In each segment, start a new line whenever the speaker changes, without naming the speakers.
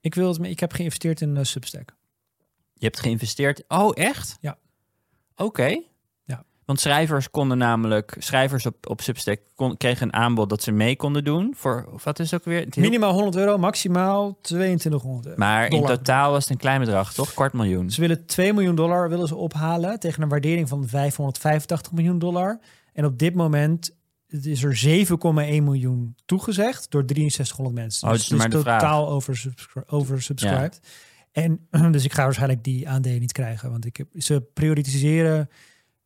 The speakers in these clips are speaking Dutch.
Ik, wil het, ik heb geïnvesteerd in eh, Substack.
Je hebt geïnvesteerd. Oh, echt?
Ja.
Oké.
Ja.
Want schrijvers konden namelijk, schrijvers op, op Substack kon- kregen een aanbod dat ze mee konden doen. Voor, of wat is het ook weer? Het heel-
Minimaal 100 euro, maximaal 2200 euro.
Maar in
dollar.
totaal was het een klein bedrag, toch? Kwart miljoen.
Ze willen 2 miljoen dollar willen ze ophalen tegen een waardering van 585 miljoen dollar. En op dit moment is er 7,1 miljoen toegezegd door 6300 mensen.
Oh,
dus
dus
het is
maar de vraag.
totaal oversubscri- oversubscribed. En dus ik ga waarschijnlijk die aandelen niet krijgen. Want ik heb, ze prioritiseren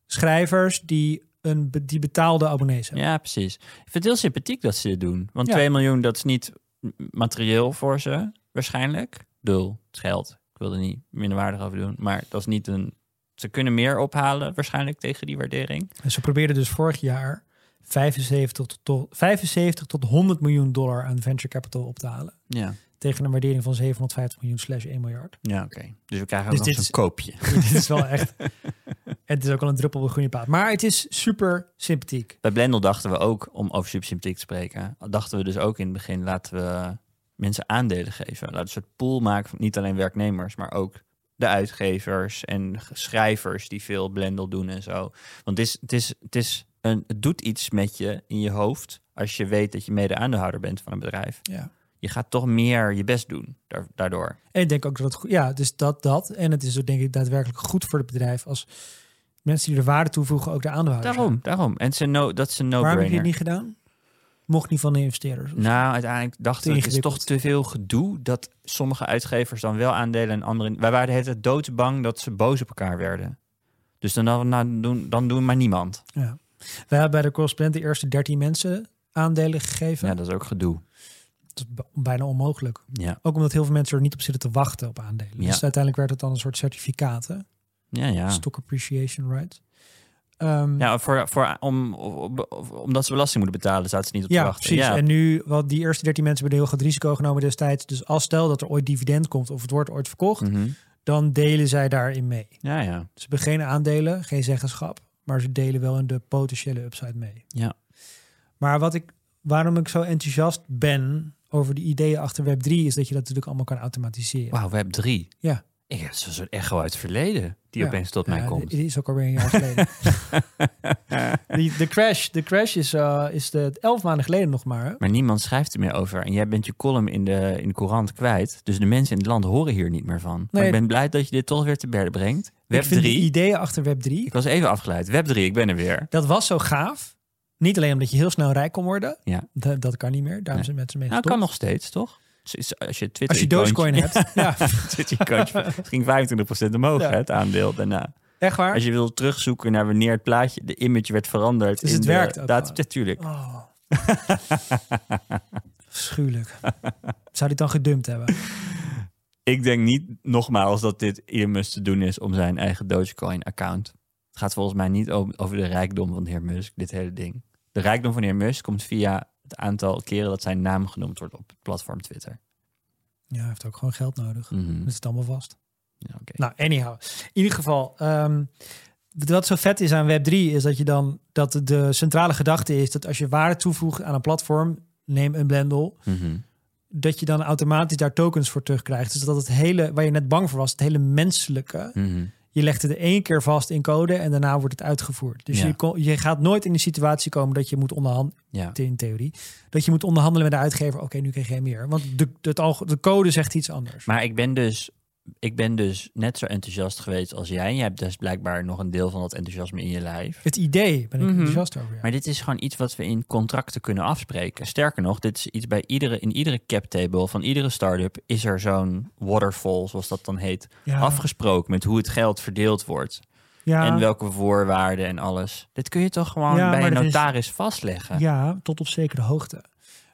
schrijvers die, een, be- die betaalde abonnees hebben.
Ja, precies. Ik vind het heel sympathiek dat ze dit doen. Want
Ja.
2 miljoen, dat is niet m- materieel voor ze, waarschijnlijk. Dul, het is geld. Ik wil er niet minderwaardig over doen. Maar dat is niet een... Ze kunnen meer ophalen, waarschijnlijk, tegen die waardering.
En ze probeerden dus vorig jaar 75 tot, 75 tot 100 miljoen dollar aan venture capital op te halen.
Ja,
Tegen een waardering van 750 miljoen slash 1 miljard.
ja oké. Dus we krijgen ook
Dus
nog
dit
zo'n
is-
koopje.
dit is wel echt. Het is ook al een druppel op een groene paard. Maar het is super sympathiek.
Bij Blendel dachten we ook, om over subsympathiek te spreken, dachten we dus ook in het begin, laten we mensen aandelen geven. Laten we een soort pool maken van niet alleen werknemers, maar ook de uitgevers en g- schrijvers die veel Blendel doen en zo. Want het, is, het, is, het, is een, het doet iets met je in je hoofd als je weet dat je mede-aandeelhouder bent van een bedrijf.
Ja.
Je gaat toch meer je best doen daar- daardoor.
En ik denk ook dat het goed. Ja, dus dat, dat. En het is ook denk ik daadwerkelijk goed voor het bedrijf als mensen die er waarde toevoegen ook de aandeelhouders.
Daarom, daarom. En ze no, dat is een
zijn. Waarom heb je
no-brainer.
het niet gedaan? Mocht niet van de investeerders.
Nou, uiteindelijk dachten
Te
we, het is toch
ingewikkeld.
te veel gedoe dat sommige uitgevers dan wel aandelen en anderen... Wij waren de hele tijd doodsbang dat ze boos op elkaar werden. Dus dan, dan, dan doen, dan doen maar niemand.
Ja. Wij hebben bij de correspondent de eerste 13 mensen aandelen gegeven.
Ja, dat is ook gedoe.
Dat is b- bijna onmogelijk.
Ja,
Ook omdat heel veel mensen er niet op zitten te wachten op aandelen.
Ja.
Dus uiteindelijk werd het dan een soort certificaten.
ja, ja.
Stock appreciation rights. Ehm,
ja voor, voor, om, om- om- omdat ze belasting moeten betalen, zaten ze niet op te
Ja,
wachten.
precies.
Ja,
En nu, wat die eerste 13 mensen hebben heel groot risico genomen destijds. Dus als stel dat er ooit dividend komt of het wordt ooit verkocht,
Mhm.
dan delen zij daarin mee.
ja, ja.
Ze hebben geen aandelen, geen zeggenschap, maar ze delen wel in de potentiële upside mee.
Ja.
Maar wat ik, waarom ik zo enthousiast ben over de ideeën achter Web3 is dat je dat natuurlijk allemaal kan automatiseren.
Wauw, we hebben drie.
Ja.
Ik heb zo'n soort echo uit het verleden die
Ja.
opeens tot mij
Ja,
komt.
Het is ook alweer een jaar geleden. Die- de crash, de crash is, eh, is de elf maanden geleden nog maar. hè?
Maar niemand schrijft er meer over. En jij bent je column in de, in de courant kwijt. Dus de mensen in het land horen hier niet meer van. Maar
Nee.
ik ben blij dat je dit toch weer te berden brengt. Web
ik vind
3.
de ideeën achter Web 3
Ik was even afgeleid. Web 3, ik ben er weer.
Dat was zo gaaf. Niet alleen omdat je heel snel rijk kon worden.
Ja.
Dat, dat kan niet meer. Daarom
Nee.
zijn mensen mee
Nou,
gestopt.
kan nog steeds, toch? Dus is- Als je Twitter
Als je Dogecoin hebt. Ja,
Het ging 25% omhoog,
Ja.
hè, het aandeel daarna.
echt waar.
Als je wil terugzoeken naar wanneer het plaatje, de image werd veranderd.
Dus
in
het
de
werkt ook
Dat,
gewoon.
natuurlijk.
Oh. Schuwelijk. Zou die dan gedumpt hebben?
Ik denk niet, nogmaals, dat dit Elon te doen is om zijn eigen Dogecoin-account. Het gaat volgens mij niet o- over de rijkdom van de heer Musk, dit hele ding. De rijkdom van de heer Musk komt via het aantal keren dat zijn naam genoemd wordt op het platform Twitter.
Ja, hij heeft ook gewoon geld nodig.
Mhm.
Dat is het allemaal vast.
Ja, oké.
Nou, anyhow. In ieder geval, ehm, wat zo vet is aan Web3 is dat je dan dat de centrale gedachte is dat als je waarde toevoegt aan een platform, neem een Blendel,
Mhm.
dat je dan automatisch daar tokens voor terugkrijgt. Dus dat het hele, waar je net bang voor was, het hele menselijke.
Mhm.
Je legt het één keer vast in code en daarna wordt het uitgevoerd. Dus
Ja.
je, ko- je gaat nooit in de situatie komen dat je moet onderhandelen,
Ja.
in theorie, dat je moet onderhandelen met de uitgever. Oké, nu krijg jij meer. Want de, het alg- de code zegt iets anders.
Maar ik ben, dus, ik ben dus net zo enthousiast geweest als jij. Je hebt dus blijkbaar nog een deel van dat enthousiasme in je lijf.
het idee ben ik
Mhm.
enthousiast over. ja.
Maar dit is gewoon iets wat we in contracten kunnen afspreken. Sterker nog, dit is iets bij iedere, in iedere cap table van iedere start-up is er zo'n waterfall, zoals dat dan heet,
Ja.
afgesproken met hoe het geld verdeeld wordt.
ja,
En welke voorwaarden en alles. Dit kun je toch gewoon
Ja,
bij
maar
een
dat is-
notaris vastleggen.
ja, tot op zekere hoogte.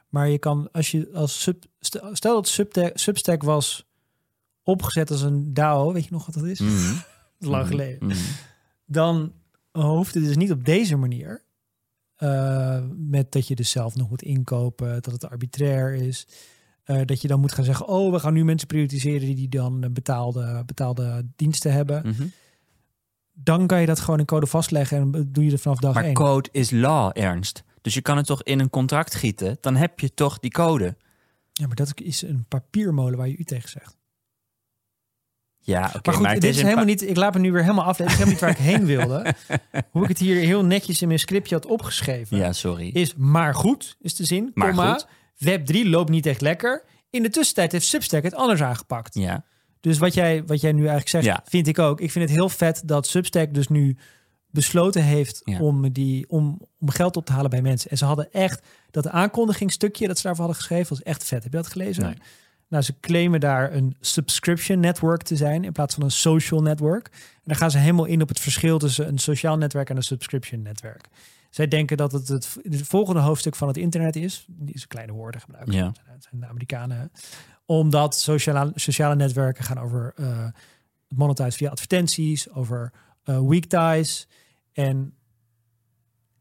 Maar je kan als je als sub, stel stel dat Subta- Substack was opgezet als een DAO, weet je nog wat dat is?
Mhm,
Lang
mhm,
geleden.
mhm.
dan hoeft het dus niet op deze manier. eh, met dat je dus zelf nog moet inkopen, dat het arbitrair is. eh, dat je dan moet gaan zeggen, oh, we gaan nu mensen prioritiseren die dan eh, betaalde, betaalde diensten hebben.
Mhm.
Dan kan je dat gewoon in code vastleggen en eh, doe je er vanaf dag
Maar
één.
code is law, Ernst. Dus je kan het toch in een contract gieten? Dan heb je toch die code.
Ja, maar dat is een papiermolen waar je u tegen zegt.
Ja, oké.
maar goed,
het
dit is,
een
helemaal
pa-
niet. Ik laat me nu weer helemaal af. Dit is helemaal niet waar ik heen wilde. Hoe ik het hier heel netjes in mijn scriptje had opgeschreven.
Ja, sorry.
Is maar goed, is de zin.
Maar
komma,
goed.
Web 3 loopt niet echt lekker. In de tussentijd heeft Substack het anders aangepakt.
Ja,
Dus wat jij, wat jij nu eigenlijk zegt,
Ja.
vind ik ook. Ik vind het heel vet dat Substack dus nu besloten heeft
Ja.
om, die, om, om geld op te halen bij mensen. En ze hadden echt dat aankondigingsstukje dat ze daarvoor hadden geschreven, was echt vet. Heb je dat gelezen?
Nee.
Nou, ze claimen daar een subscription network te zijn in plaats van een social network. En daar gaan ze helemaal in op het verschil tussen een sociaal netwerk en een subscription netwerk. Zij denken dat het het, het volgende hoofdstuk van het internet is. Deze kleine woorden gebruiken.
Ja.
Dat zijn- dat zijn de Amerikanen. hè. Omdat sociale, sociale netwerken gaan over eh monetize via advertenties, over eh weekties. En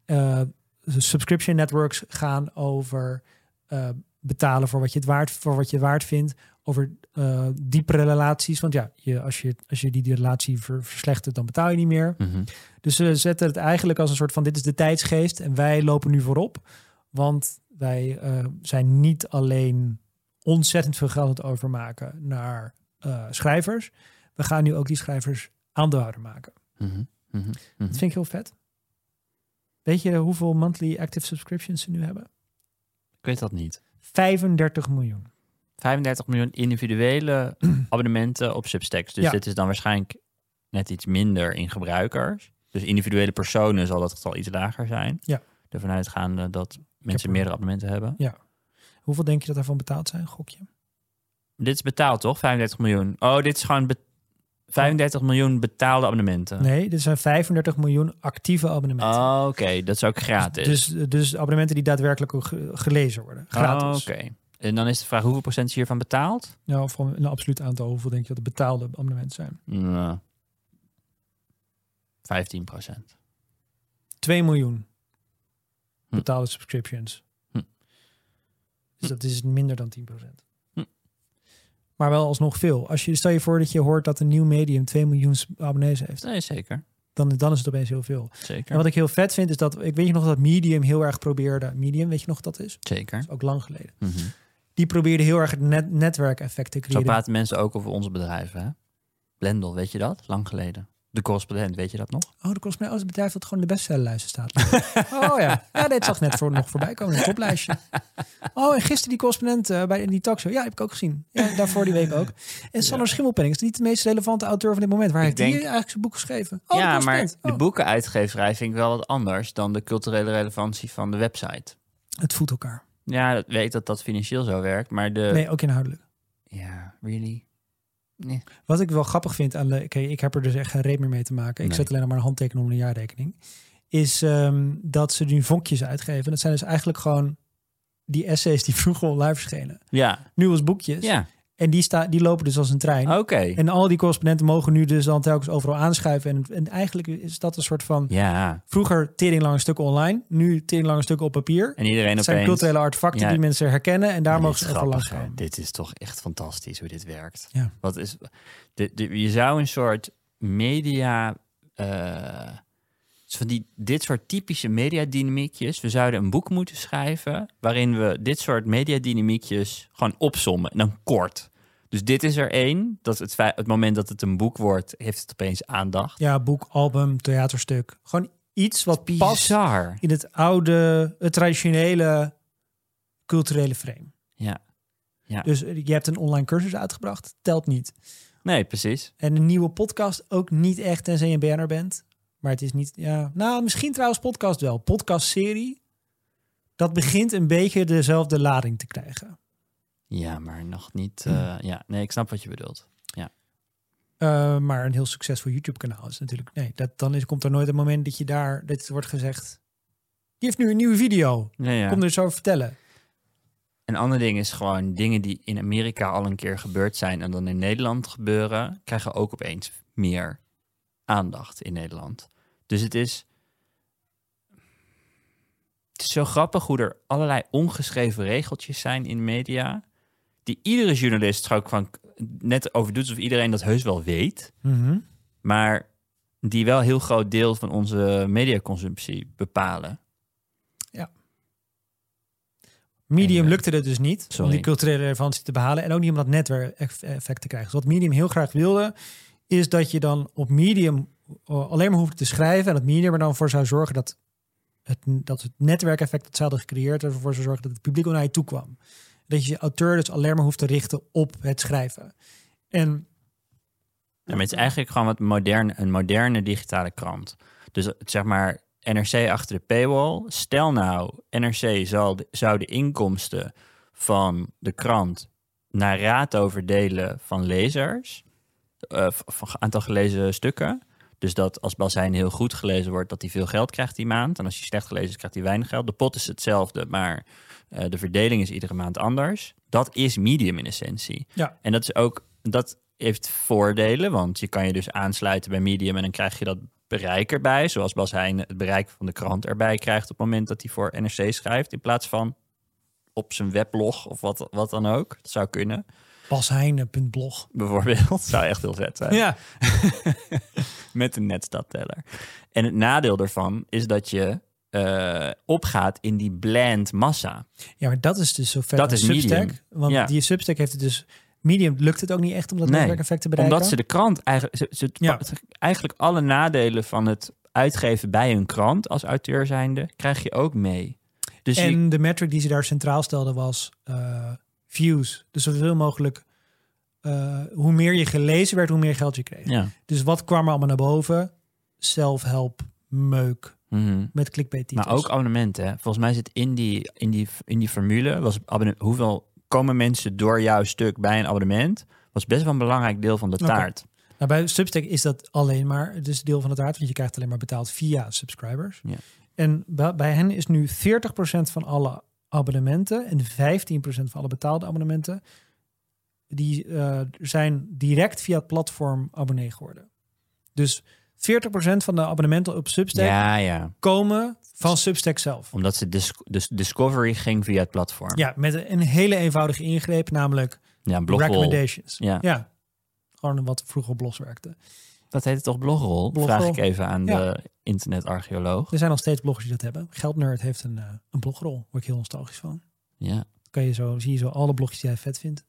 eh, de subscription networks gaan over eh, betalen voor wat je het waard, voor wat je waard vindt. Over eh, diepere relaties. Want ja, je, als, je, als je die, die relatie ver- verslechtert, dan betaal je niet meer.
mhm.
Dus ze zetten het eigenlijk als een soort van dit is de tijdsgeest en wij lopen nu voorop. Want wij eh, zijn niet alleen ontzettend veel geld aan het overmaken naar eh, schrijvers. We gaan nu ook die schrijvers aandeelhouder maken.
Mhm. Mhm. Mhm.
Dat vind ik heel vet. Weet je hoeveel monthly active subscriptions ze nu hebben?
Ik weet dat niet.
35 miljoen.
35 miljoen individuele abonnementen op Substack. Dus
Ja.
dit is dan waarschijnlijk net iets minder in gebruikers. Dus individuele personen zal dat getal iets lager zijn.
Ja.
Ervan uitgaande dat mensen
er-
meerdere abonnementen hebben.
Hoeveel denk je dat daarvan betaald zijn? Gokje.
Dit is betaald, toch? 35 miljoen. Oh, dit is gewoon be- 35 miljoen betaalde abonnementen.
Nee, dit zijn 35 miljoen actieve abonnementen.
Oh, Oké, dat is ook gratis.
dus, dus abonnementen die daadwerkelijk ook ge- gelezen worden. Gratis.
Oh, Oké. En dan is de vraag, hoeveel procent is hiervan betaald?
Nou, van een absoluut aantal, hoeveel denk je dat de betaalde abonnementen zijn?
Nou, 15 procent.
2 miljoen
Hm.
betaalde subscriptions.
Hm.
Dus dat is minder dan 10%.
Hm.
Maar wel alsnog veel. Als je, stel je voor dat je hoort dat een nieuw medium 2 miljoen s- abonnees heeft,
Nee, zeker.
dan, dan is het opeens heel veel.
Zeker.
En wat ik heel vet vind is dat, ik weet je nog dat Medium heel erg probeerde, Medium, weet je nog wat dat is?
Zeker.
Dat is ook lang geleden.
Mhm.
Die probeerde heel erg het net, netwerkeffect te
Zo
creëren.
praten mensen ook over onze bedrijven, hè? Blendel, weet je dat? Lang geleden. De correspondent, weet je dat nog?
Oh, dat kost mij als het bedrijf dat gewoon in de bestsellerlijsten staat. oh ja. ja, dit zag net voor, nog voorbij komen in het toplijstje. Oh, en gisteren die correspondent eh, bij in die talkshow. Ja, heb ik ook gezien. Ja, daarvoor die week ook. En Sander Schimmelpenning is niet de meest relevante auteur van dit moment. Waar
Ik
heeft hij
denk-
eigenlijk zijn boek geschreven? Oh,
ja,
de
maar
correspondent.
de
Oh.
boekenuitgeverij vind ik wel wat anders dan de culturele relevantie van de website.
Het voedt elkaar.
Ja, dat weet dat dat financieel zo werkt, maar de...
Nee, ook inhoudelijk.
Ja, really?
Wat ik wel grappig vind aan... de- Oké, ik heb er dus echt geen reet meer mee te maken. Ik
Nee.
zet alleen nog maar een handtekening onder een jaarrekening. Is ehm, dat ze nu vonkjes uitgeven. Dat zijn dus eigenlijk gewoon die essays die vroeger online verschenen.
Ja,
Nu als boekjes.
ja. Oh.
En die, sta, die lopen dus als een trein.
Oké.
En al die correspondenten mogen nu dus dan telkens overal aanschuiven. En, en eigenlijk is dat een soort van...
Ja,
Vroeger teringlange stukken online, nu teringlange stukken op papier.
en iedereen
Het zijn
opeens...
culturele artefacten
Ja.
die mensen herkennen en daar
Dit
mogen
is
ze overal langs
grappig, hè?
komen.
Dit is toch echt fantastisch hoe dit werkt.
Ja.
Wat is, de, de, je zou een soort media... eh, van die, dit soort typische mediadynamiekjes... We zouden een boek moeten schrijven... waarin we dit soort mediadynamiekjes gewoon opsommen. En dan kort. Dus dit is er één. Dat het, fei- het moment dat het een boek wordt, heeft het opeens aandacht.
Ja, boek, album, theaterstuk. Gewoon iets wat past
Bizar.
in het oude, het traditionele culturele frame.
Ja. Ja.
Dus eh, je hebt een online cursus uitgebracht, telt niet.
Nee, precies.
En een nieuwe podcast ook niet echt, tenzij je een BN'er bent. Maar het is niet, ja. Nou, misschien trouwens podcast wel. Podcastserie. Dat begint een beetje dezelfde lading te krijgen.
Ja, maar nog niet... eh, Ja, nee, ik snap wat je bedoelt.
Eh, maar een heel succesvol YouTube-kanaal is natuurlijk. Nee, dat, dan is, komt er nooit een moment dat je daar. dat wordt gezegd. Die heeft nu een nieuwe video.
Ja, ja.
Kom er eens over vertellen.
Een ander ding is gewoon dingen die in Amerika al een keer gebeurd zijn en dan in Nederland gebeuren, krijgen ook opeens meer aandacht in Nederland. Dus het is, het is zo grappig hoe er allerlei ongeschreven regeltjes zijn in media, die iedere journalist er ook van net over doet, alsof iedereen dat heus wel weet, maar die wel een heel groot deel van onze mediaconsumptie bepalen.
Medium
En, eh,
lukte het dus niet om
sorry.
die culturele relevantie te behalen en ook niet om dat netwerkeffect te krijgen. Dus wat Medium heel graag wilde, is dat je dan op Medium eh, alleen maar hoeft te schrijven en dat Medium er dan voor zou zorgen dat het, dat het netwerkeffect dat ze hadden gecreëerd ervoor zou zorgen dat het publiek ook naar je toe kwam. Dat je je auteur dus alleen maar hoeft te richten op het schrijven. En
Ja, maar het is eigenlijk gewoon wat moderne, een moderne digitale krant. Dus eh, zeg maar NRC achter de paywall. Stel nou, NRC zal de- zou de inkomsten van de krant naar raad overdelen van lezers. eh, v- van ge- aantal gelezen stukken. Dus dat als Basijn heel goed gelezen wordt, dat hij veel geld krijgt die maand. En als hij slecht gelezen is, krijgt hij weinig geld. De pot is hetzelfde, maar eh, de verdeling is iedere maand anders. Dat is medium in essentie.
Ja.
En dat is ook, dat heeft voordelen, want je kan je dus aansluiten bij medium en dan krijg je dat bereik erbij. Zoals Bas Heijn het bereik van de krant erbij krijgt op het moment dat hij voor NRC schrijft. In plaats van op zijn weblog of wat, wat dan ook. Dat zou kunnen,
basheine.blog.
bijvoorbeeld. zou echt heel vet zijn
Ja,
met een netstadteller. En het nadeel daarvan is dat je eh, opgaat in die bland massa.
Ja, maar dat is dus zo ver
Dat
dan
is
Substack.
Medium.
Want
Ja.
die Substack heeft het dus... Medium lukt het ook niet echt om dat
Nee,
netwerkeffect te bereiken.
Omdat ze de krant eigenlijk, ze, ze-
Ja.
eigenlijk alle nadelen van het uitgeven bij een krant als auteur zijnde, krijg je ook mee. Dus je,
En de metric die ze daar centraal stelden was eh, views. Dus zoveel mogelijk... eh, hoe meer je gelezen werd, hoe meer geld je kreeg.
ja.
Dus wat kwam er allemaal naar boven? Self-help, meuk,
Mhm.
met clickbait titels.
Maar ook abonnementen. hè. Volgens mij zit in die, in die, in die formule, was abonne- hoeveel komen mensen door jouw stuk bij een abonnement, was best wel een belangrijk deel van de
Oké.
taart.
Nou, bij Substack is dat alleen maar, het is deel van het aard, want je krijgt alleen maar betaald via subscribers.
Ja.
En bij, bij hen is nu 40% van alle abonnementen en 15% van alle betaalde abonnementen, die eh, zijn direct via het platform abonnee geworden. Dus 40% van de abonnementen op Substack
Ja, ja.
komen van Substack zelf.
Omdat ze dis dus Discovery ging via het platform.
Ja, met een hele eenvoudige ingreep, namelijk
Ja, blogrol.
recommendations.
Ja.
Gewoon wat vroeger op blogs werkte.
Dat heette toch blogrol?
Blogrol.
Vraag ik even aan
Ja.
de internetarcheoloog.
Er zijn nog steeds bloggers die dat hebben. Geldnerd heeft een, eh, een blogrol. Word ik heel nostalgisch van.
Ja.
Kan je zo, zie je zo alle blogjes die hij vet vindt.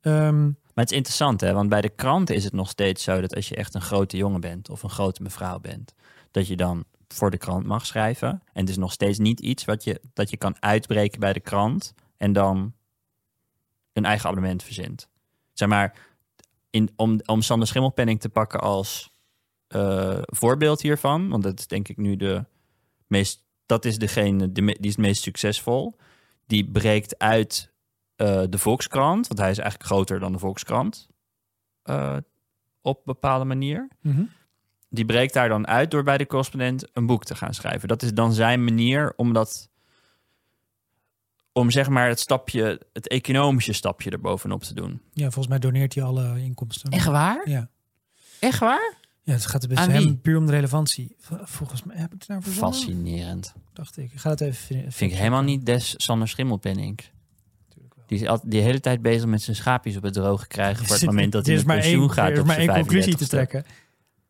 Ehm,
Maar het is interessant, hè? Want bij de kranten is het nog steeds zo dat als je echt een grote jongen bent of een grote mevrouw bent, dat je dan voor de krant mag schrijven. En het is nog steeds niet iets wat je, dat je kan uitbreken bij de krant en dan een eigen abonnement verzint. Zeg maar, in, om, om Sander Schimmelpenning te pakken als eh, voorbeeld hiervan, want dat is denk ik nu de meest, dat is degene de me- die is het meest succesvol. Die breekt uit eh, de Volkskrant, want hij is eigenlijk groter dan de Volkskrant eh, op een bepaalde manier.
mhm.
Die breekt daar dan uit door bij de correspondent een boek te gaan schrijven. Dat is dan zijn manier om dat. Om zeg maar het stapje, het economische stapje erbovenop te doen.
Ja, volgens mij doneert hij alle inkomsten.
waar?
Ja.
Echt waar?
ja, het gaat er best
Aan wie?
hem puur om de relevantie. V- Volgens mij heb ik het daarvoor verzonnen?
Fascinerend.
Dacht ik. Ik ga het even vinden.
Vind ik helemaal niet des Sander Schimmelpenning. Die is altijd die hele tijd bezig met zijn schaapjes op het droge krijgen. voor het moment dat hij met pensioen gaat.
Er is
op
maar
zijn
één conclusie te
35ste.
trekken.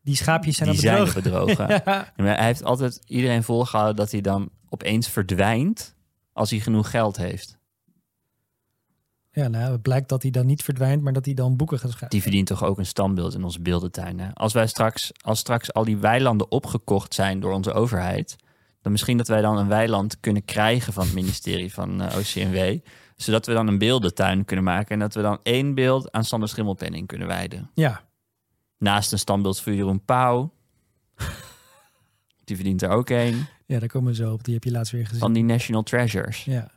Die schaapjes zijn
Die
aan
zijn
bedrogen.
bedrogen. Ja, maar hij heeft altijd iedereen volgehouden dat hij dan opeens verdwijnt als hij genoeg geld heeft.
Ja, nou, het blijkt dat hij dan niet verdwijnt, maar dat hij dan boeken gaat schrijven.
Die verdient toch ook een standbeeld in onze beeldentuin. Hè? Als wij straks, als straks al die weilanden opgekocht zijn door onze overheid, dan misschien dat wij dan een weiland kunnen krijgen van het ministerie van eh, OCMW, zodat we dan een beeldentuin kunnen maken en dat we dan één beeld aan Sander Schimmelpenning kunnen wijden.
Ja,
Naast een standbeeld voor Jeroen Pauw. Die verdient er ook één.
ja, daar komen we zo op. Die heb je laatst weer gezien.
Van die National Treasures.
Ja.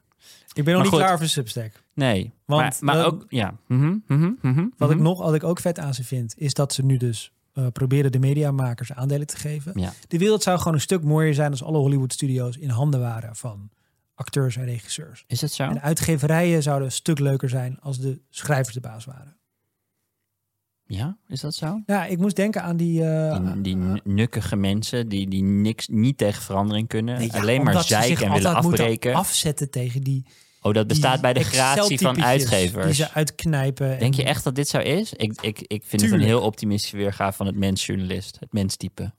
Ik ben nog
Maar
niet
goed.
klaar voor Substack.
Nee.
Want
maar, maar
dat-
ook, ja. Mhm, mhm, mhm,
Wat
mhm.
ik nog, wat ik ook vet aan ze vind, is dat ze nu dus eh, proberen de mediamakers aandelen te geven.
Ja.
De wereld zou gewoon een stuk mooier zijn als alle Hollywood studios in handen waren van acteurs en regisseurs.
Is dat zo?
En uitgeverijen zouden een stuk leuker zijn als de schrijvers de baas waren.
Ja, is dat zo?
Ja, ik moest denken aan die. eh,
Die, die nu- nukkige mensen die, die niks niet tegen verandering kunnen.
nee, ja,
alleen maar
omdat ze zich
zeiken en willen
altijd moeten
afbreken.
afzetten tegen die.
oh, dat
die
bestaat bij de gratie van
Excel-typetjes Die
uitgevers.
ze uitknijpen.
Denk je echt dat dit zo is? Ik, ik, ik vind het
Tuurlijk.
een heel optimistische weergave van het mensjournalist. Het menstype.
En-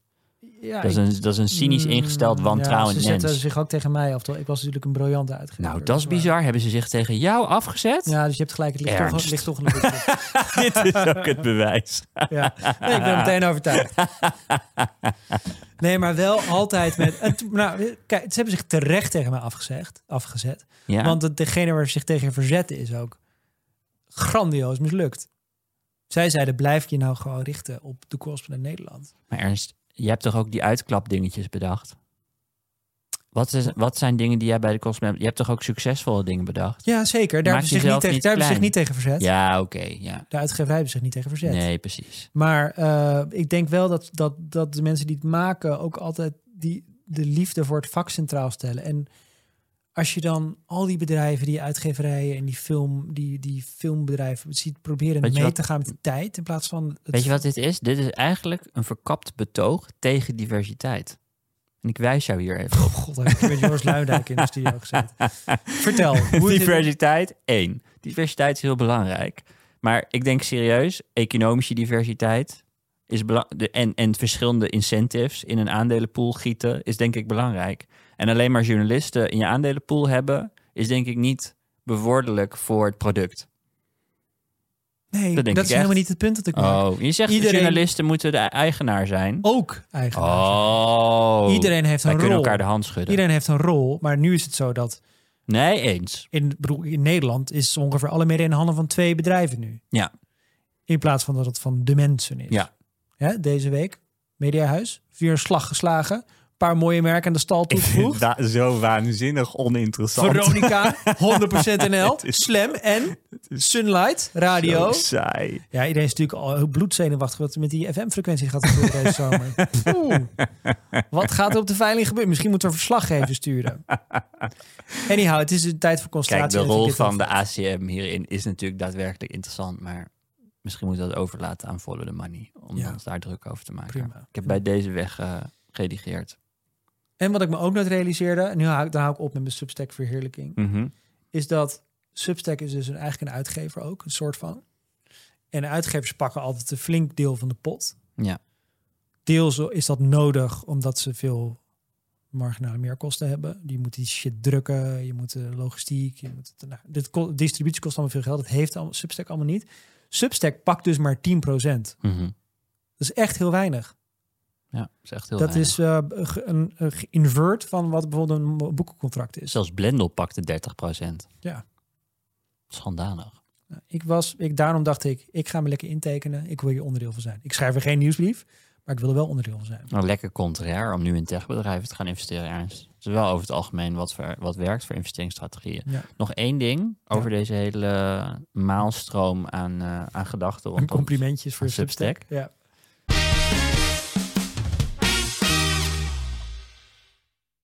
ja,
dat, is een, dat is een cynisch
Mm,
ingesteld wantrouwend
ja, Ze zetten
mens.
zich ook tegen mij af. terwijl Ik was natuurlijk een briljante uitgever.
Nou, dat is
dus maar-
bizar. Hebben ze zich tegen jou afgezet?
Ja, dus je hebt gelijk. Het ligt, toch,
Ernst.
ligt toch een beetje.
Dit is ook het bewijs.
ja. Nee, ik ben meteen overtuigd. Nee, maar wel altijd met... en toen- nou, kijk, ze hebben zich terecht tegen mij afgezegd, afgezet.
Ja.
Want het, degene waar ze zich tegen verzetten is ook grandioos mislukt. Zij zeiden, blijf je nou gewoon richten op de correspondent Nederland.
Maar Ernst, je hebt toch ook die uitklapdingetjes bedacht? Wat, is, wat zijn dingen die jij bij de consument... Je hebt toch ook succesvolle dingen bedacht?
Ja, zeker. Daar,
Maak
hebben ze, zich niet
jezelf
tegen,
niet
daar hebben ze
klein.
zich niet tegen verzet.
Ja, oké. ja.
De uitgeverij hebben zich niet tegen verzet.
Nee, precies.
Maar eh, ik denk wel dat, dat, dat de mensen die het maken ook altijd die, de liefde voor het vak centraal stellen. En als je dan al die bedrijven, die uitgeverijen en die, film, die, die filmbedrijven ziet proberen
Weet je
mee
wat-
te gaan met de tijd in plaats van... Het,
Weet je wat dit is? Dit is eigenlijk een verkapt betoog tegen diversiteit. En ik wijs jou hier even op.
God, heb ik met Joris Luijendijk in de studio gezeten. Vertel. Hoe is dit-
diversiteit, één. Diversiteit is heel belangrijk. Maar ik denk serieus, economische diversiteit is bela- de- en, en verschillende incentives in een aandelenpool gieten is denk ik belangrijk. En alleen maar journalisten in je aandelenpool hebben is denk ik niet bevorderlijk voor het product.
nee,
dat
dat,
denk ik
is
echt.
helemaal niet het punt dat ik maak.
Oh, je zegt
Iedereen-
dat journalisten moeten de e- eigenaar zijn.
Ook eigenlijk.
Oh,
Iedereen heeft
wij
een
kunnen
rol.
elkaar de hand schudden.
Iedereen heeft een rol, maar nu is het zo dat
Nee, eens.
in, bedoel, in Nederland is ongeveer alle media in handen van twee bedrijven nu.
Ja.
In plaats van dat het van de mensen is.
Ja.
Hè, deze week, Mediahuis, weer een slag geslagen. Een paar mooie merken aan de stal toegevoegd.
zo waanzinnig oninteressant.
Veronica, 100% NL,
is-
Slam en Sunlight Radio.
saai.
Ja, iedereen is natuurlijk al heel bloedzenuwachtig wat er met die FM-frequentie gaat gebeuren deze zomer. Oeh, wat gaat er op de veiling gebeuren? Misschien moeten we een verslaggever sturen. Anyhow, het is een tijd voor
Kijk,
concentratie.
de rol
Dat vind
van
ik
de
het
ACM hierin is natuurlijk daadwerkelijk interessant, maar misschien moeten we dat overlaten aan Follow the Money, om
Ja.
ons daar druk over te maken.
Prima.
Ik heb bij deze weg eh, geredigeerd.
En wat ik me ook net realiseerde, en nu hou, ik- dan hou ik op met mijn Substack-verheerlijking, is dat Substack is dus een, eigenlijk een uitgever ook, een soort van. En uitgevers pakken altijd een flink deel van de pot.
Ja.
Deels is dat nodig omdat ze veel marginale meerkosten hebben. Je moet die shit drukken, je moet de logistiek, je moet het, nou, dit ko- distributie kost allemaal veel geld. Dat heeft allemaal, Substack allemaal niet. Substack pakt dus maar 10%. Dat
Mhm.
is echt heel weinig.
Ja, dat is echt heel
dat
weinig.
is eh, ge- een, een invert van wat bijvoorbeeld een mo- boekencontract is.
Zelfs Blendel pakte 30%.
Ja.
Schandalig.
Nou, Ik was, ik, daarom dacht ik, ik ga me lekker intekenen. Ik wil hier onderdeel van zijn. Ik schrijf er geen nieuwsbrief, maar ik wil er wel onderdeel van zijn.
Nou, lekker contrair om nu in techbedrijven te gaan investeren, Ernst. Het is wel over het algemeen wat, voor, wat werkt voor investeringsstrategieën.
Ja.
Nog één ding over deze hele maalstroom aan, eh, aan gedachten.
Een
rondom
complimentjes voor
Substack.
Substack. Ja.